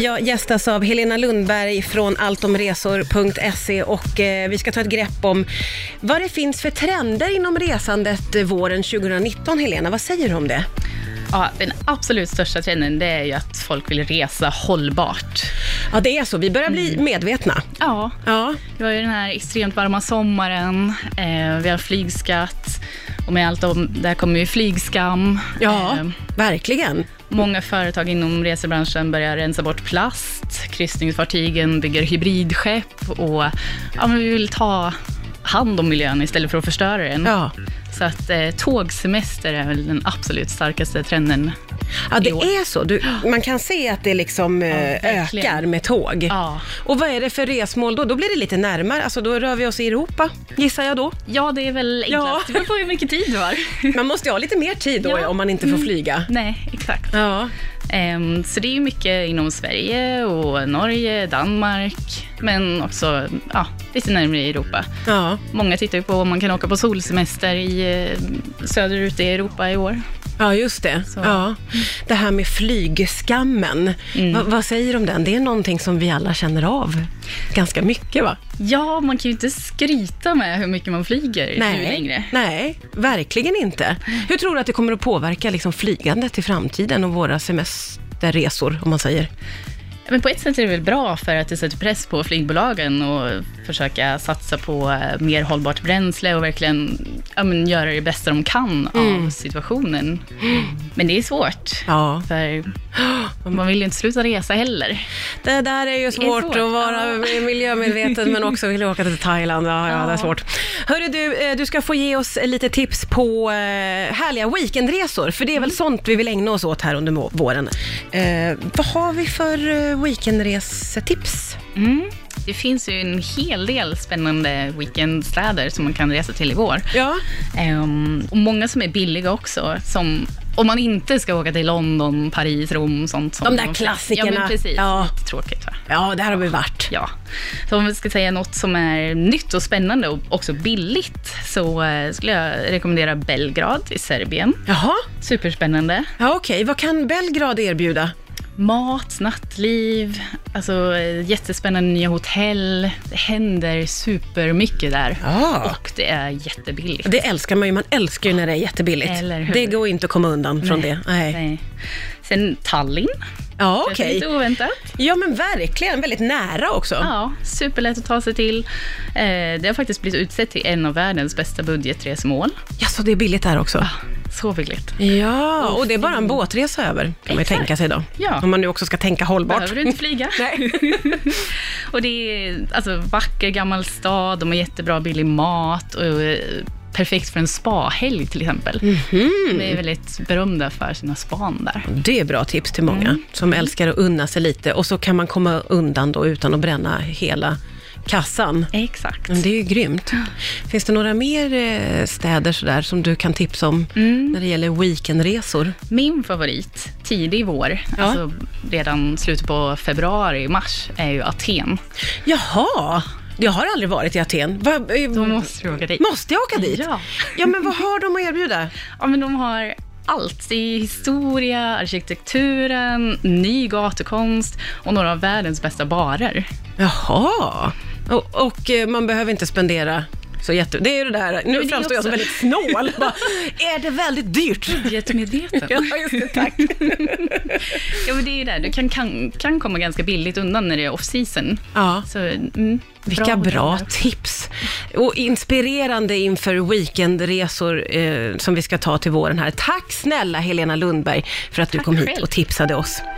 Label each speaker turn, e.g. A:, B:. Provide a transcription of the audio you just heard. A: jag gästas av Helena Lundberg från alltomresor.se och eh, vi ska ta ett grepp om vad det finns för trender inom resandet eh, våren 2019. Helena, vad säger du om det?
B: Ja, den absolut största trenden det är ju att folk vill resa hållbart.
A: Ja, det är så. Vi börjar bli medvetna.
B: Ja,
A: Mm. Ja,
B: vi har ju den här extremt varma sommaren, eh, vi har flygskatt och med allt om, där kommer ju flygskam.
A: ja
B: Eh,
A: verkligen.
B: många företag inom resebranschen börjar rensa bort plast, kryssningsfartygen bygger hybridskepp och ja, men vi vill ta hand om miljön istället för att förstöra den.
A: Ja.
B: Så att eh, tågsemester är väl den absolut starkaste trenden.
A: Ja, det
B: i år.
A: är så. Du, man kan se att det liksom eh,
B: verkligen.
A: ökar med tåg.
B: Ja.
A: Och vad är det för resmål då? Då blir det lite närmare, alltså då rör vi oss i Europa, gissar jag då.
B: Ja, det är väl enklast.
A: Ja.
B: Det beror på hur mycket tid du har.
A: Man måste ju ha lite mer tid då
B: Ja.
A: om man inte får flyga.
B: Nej, exakt.
A: Mm. Ja.
B: Ehm, så det är ju mycket inom Sverige och Norge, Danmark, men också ja, lite närmare i Europa.
A: Ja.
B: Många tittar ju på om man kan åka på solsemester i, eh, söderut i Europa i år.
A: ja, just det.
B: Så.
A: Ja. Det här med flygskammen,
B: Mm.
A: Va, vad säger du om den? Det är någonting som vi alla känner av ganska mycket va?
B: Ja, man kan ju inte skryta med hur mycket man flyger nu längre.
A: Nej, verkligen inte. Hur tror du att det kommer att påverka liksom, flygandet i framtiden och våra semesterresor, om man säger?
B: Men på ett sätt är det väl bra för att det sätter press på flygbolagen och försöka satsa på eh, mer hållbart bränsle och verkligen ja, men, göra det bästa de kan
A: Mm.
B: av situationen. Men det är svårt.
A: Ja,
B: För man vill ju inte sluta resa heller.
A: Det där är ju svårt,
B: svårt,
A: att vara
B: ja.
A: miljömedveten men också vilja åka till Thailand. Ja, ja, det är
B: Ja.
A: svårt. Hörru du, eh, du ska få ge oss lite tips på eh, härliga weekendresor, för det är väl sånt vi vill ägna oss åt här under må- våren. Mm. Eh, vad har vi för eh, weekendresetips?
B: Mm. Det finns ju en hel del spännande weekendstäder som man kan resa till i vår.
A: Ja.
B: Ehm, och många som är billiga också. Som, om man inte ska åka till London, Paris, Rom, sånt. som
A: De där
B: de-
A: klassikerna.
B: Ja, men precis.
A: Ja.
B: Lite tråkigt va?
A: ja, där har vi varit.
B: Ja. Så om vi ska säga något som är nytt och spännande och också billigt så eh, skulle jag rekommendera Belgrad i Serbien.
A: Jaha,
B: Superspännande.
A: ja, okej. Vad kan Belgrad erbjuda?
B: Mat, nattliv, alltså eh, jättespännande nya hotell. Det händer supermycket där.
A: Ja.
B: Och det är jättebilligt.
A: Det älskar man ju. Man älskar ju när det är jättebilligt.
B: Eller hur?
A: Det går inte att komma undan från det. Nej.
B: Nej. Sen Tallinn.
A: Ja,
B: Kanske
A: okej.
B: Lite oväntat.
A: Ja, men verkligen. Väldigt nära också.
B: Ja, superlätt att ta sig till. Eh, det har faktiskt blivit utsett till en av världens bästa budgetresmål.
A: Ja, så det är billigt där också?
B: Så billigt.
A: Ja, och det är bara en båtresa över, kan man ju
B: Exakt.
A: tänka sig då.
B: Ja.
A: Om man nu också ska tänka hållbart.
B: Behöver du inte flyga.
A: Nej.
B: och det är alltså, vacker gammal stad, de har jättebra billig mat och eh, perfekt för en spahelg till exempel.
A: Mhm.
B: De är väldigt berömda för sina span där.
A: Det är bra tips till många
B: Mm.
A: som älskar att unna sig lite och så kan man komma undan då utan att bränna hela kassan.
B: Exakt.
A: Men Det är ju grymt. Finns det några mer eh, städer sådär som du kan tipsa om
B: Mm.
A: när det gäller weekendresor?
B: Min favorit, tidig vår,
A: Ja.
B: alltså redan slutet på februari, mars, är ju Aten.
A: Jaha, jag har aldrig varit i Aten. Va, eh,
B: Då måste du åka dit.
A: måste jag åka dit?
B: Ja.
A: ja, men vad har de att erbjuda?
B: Ja, men de har allt. Det är historia, arkitekturen, ny gatukonst och några av världens bästa barer.
A: Jaha. Och, och eh, man behöver inte spendera så jätte... Det är ju det där, nu
B: det är
A: framstår jag som
B: också-
A: väldigt snål. Bara, är det väldigt dyrt?
B: Budgetmedveten.
A: Ja, just det, tack.
B: ja, men det är ju det. Du kan, kan, kan komma ganska billigt undan när det är off-season.
A: Ja.
B: Så, mm,
A: Vilka bra
B: hoteller.
A: tips. Och inspirerande inför weekendresor eh, som vi ska ta till våren här. Tack snälla Helena Lundberg för att du
B: Tack
A: kom hit
B: själv.
A: och tipsade oss.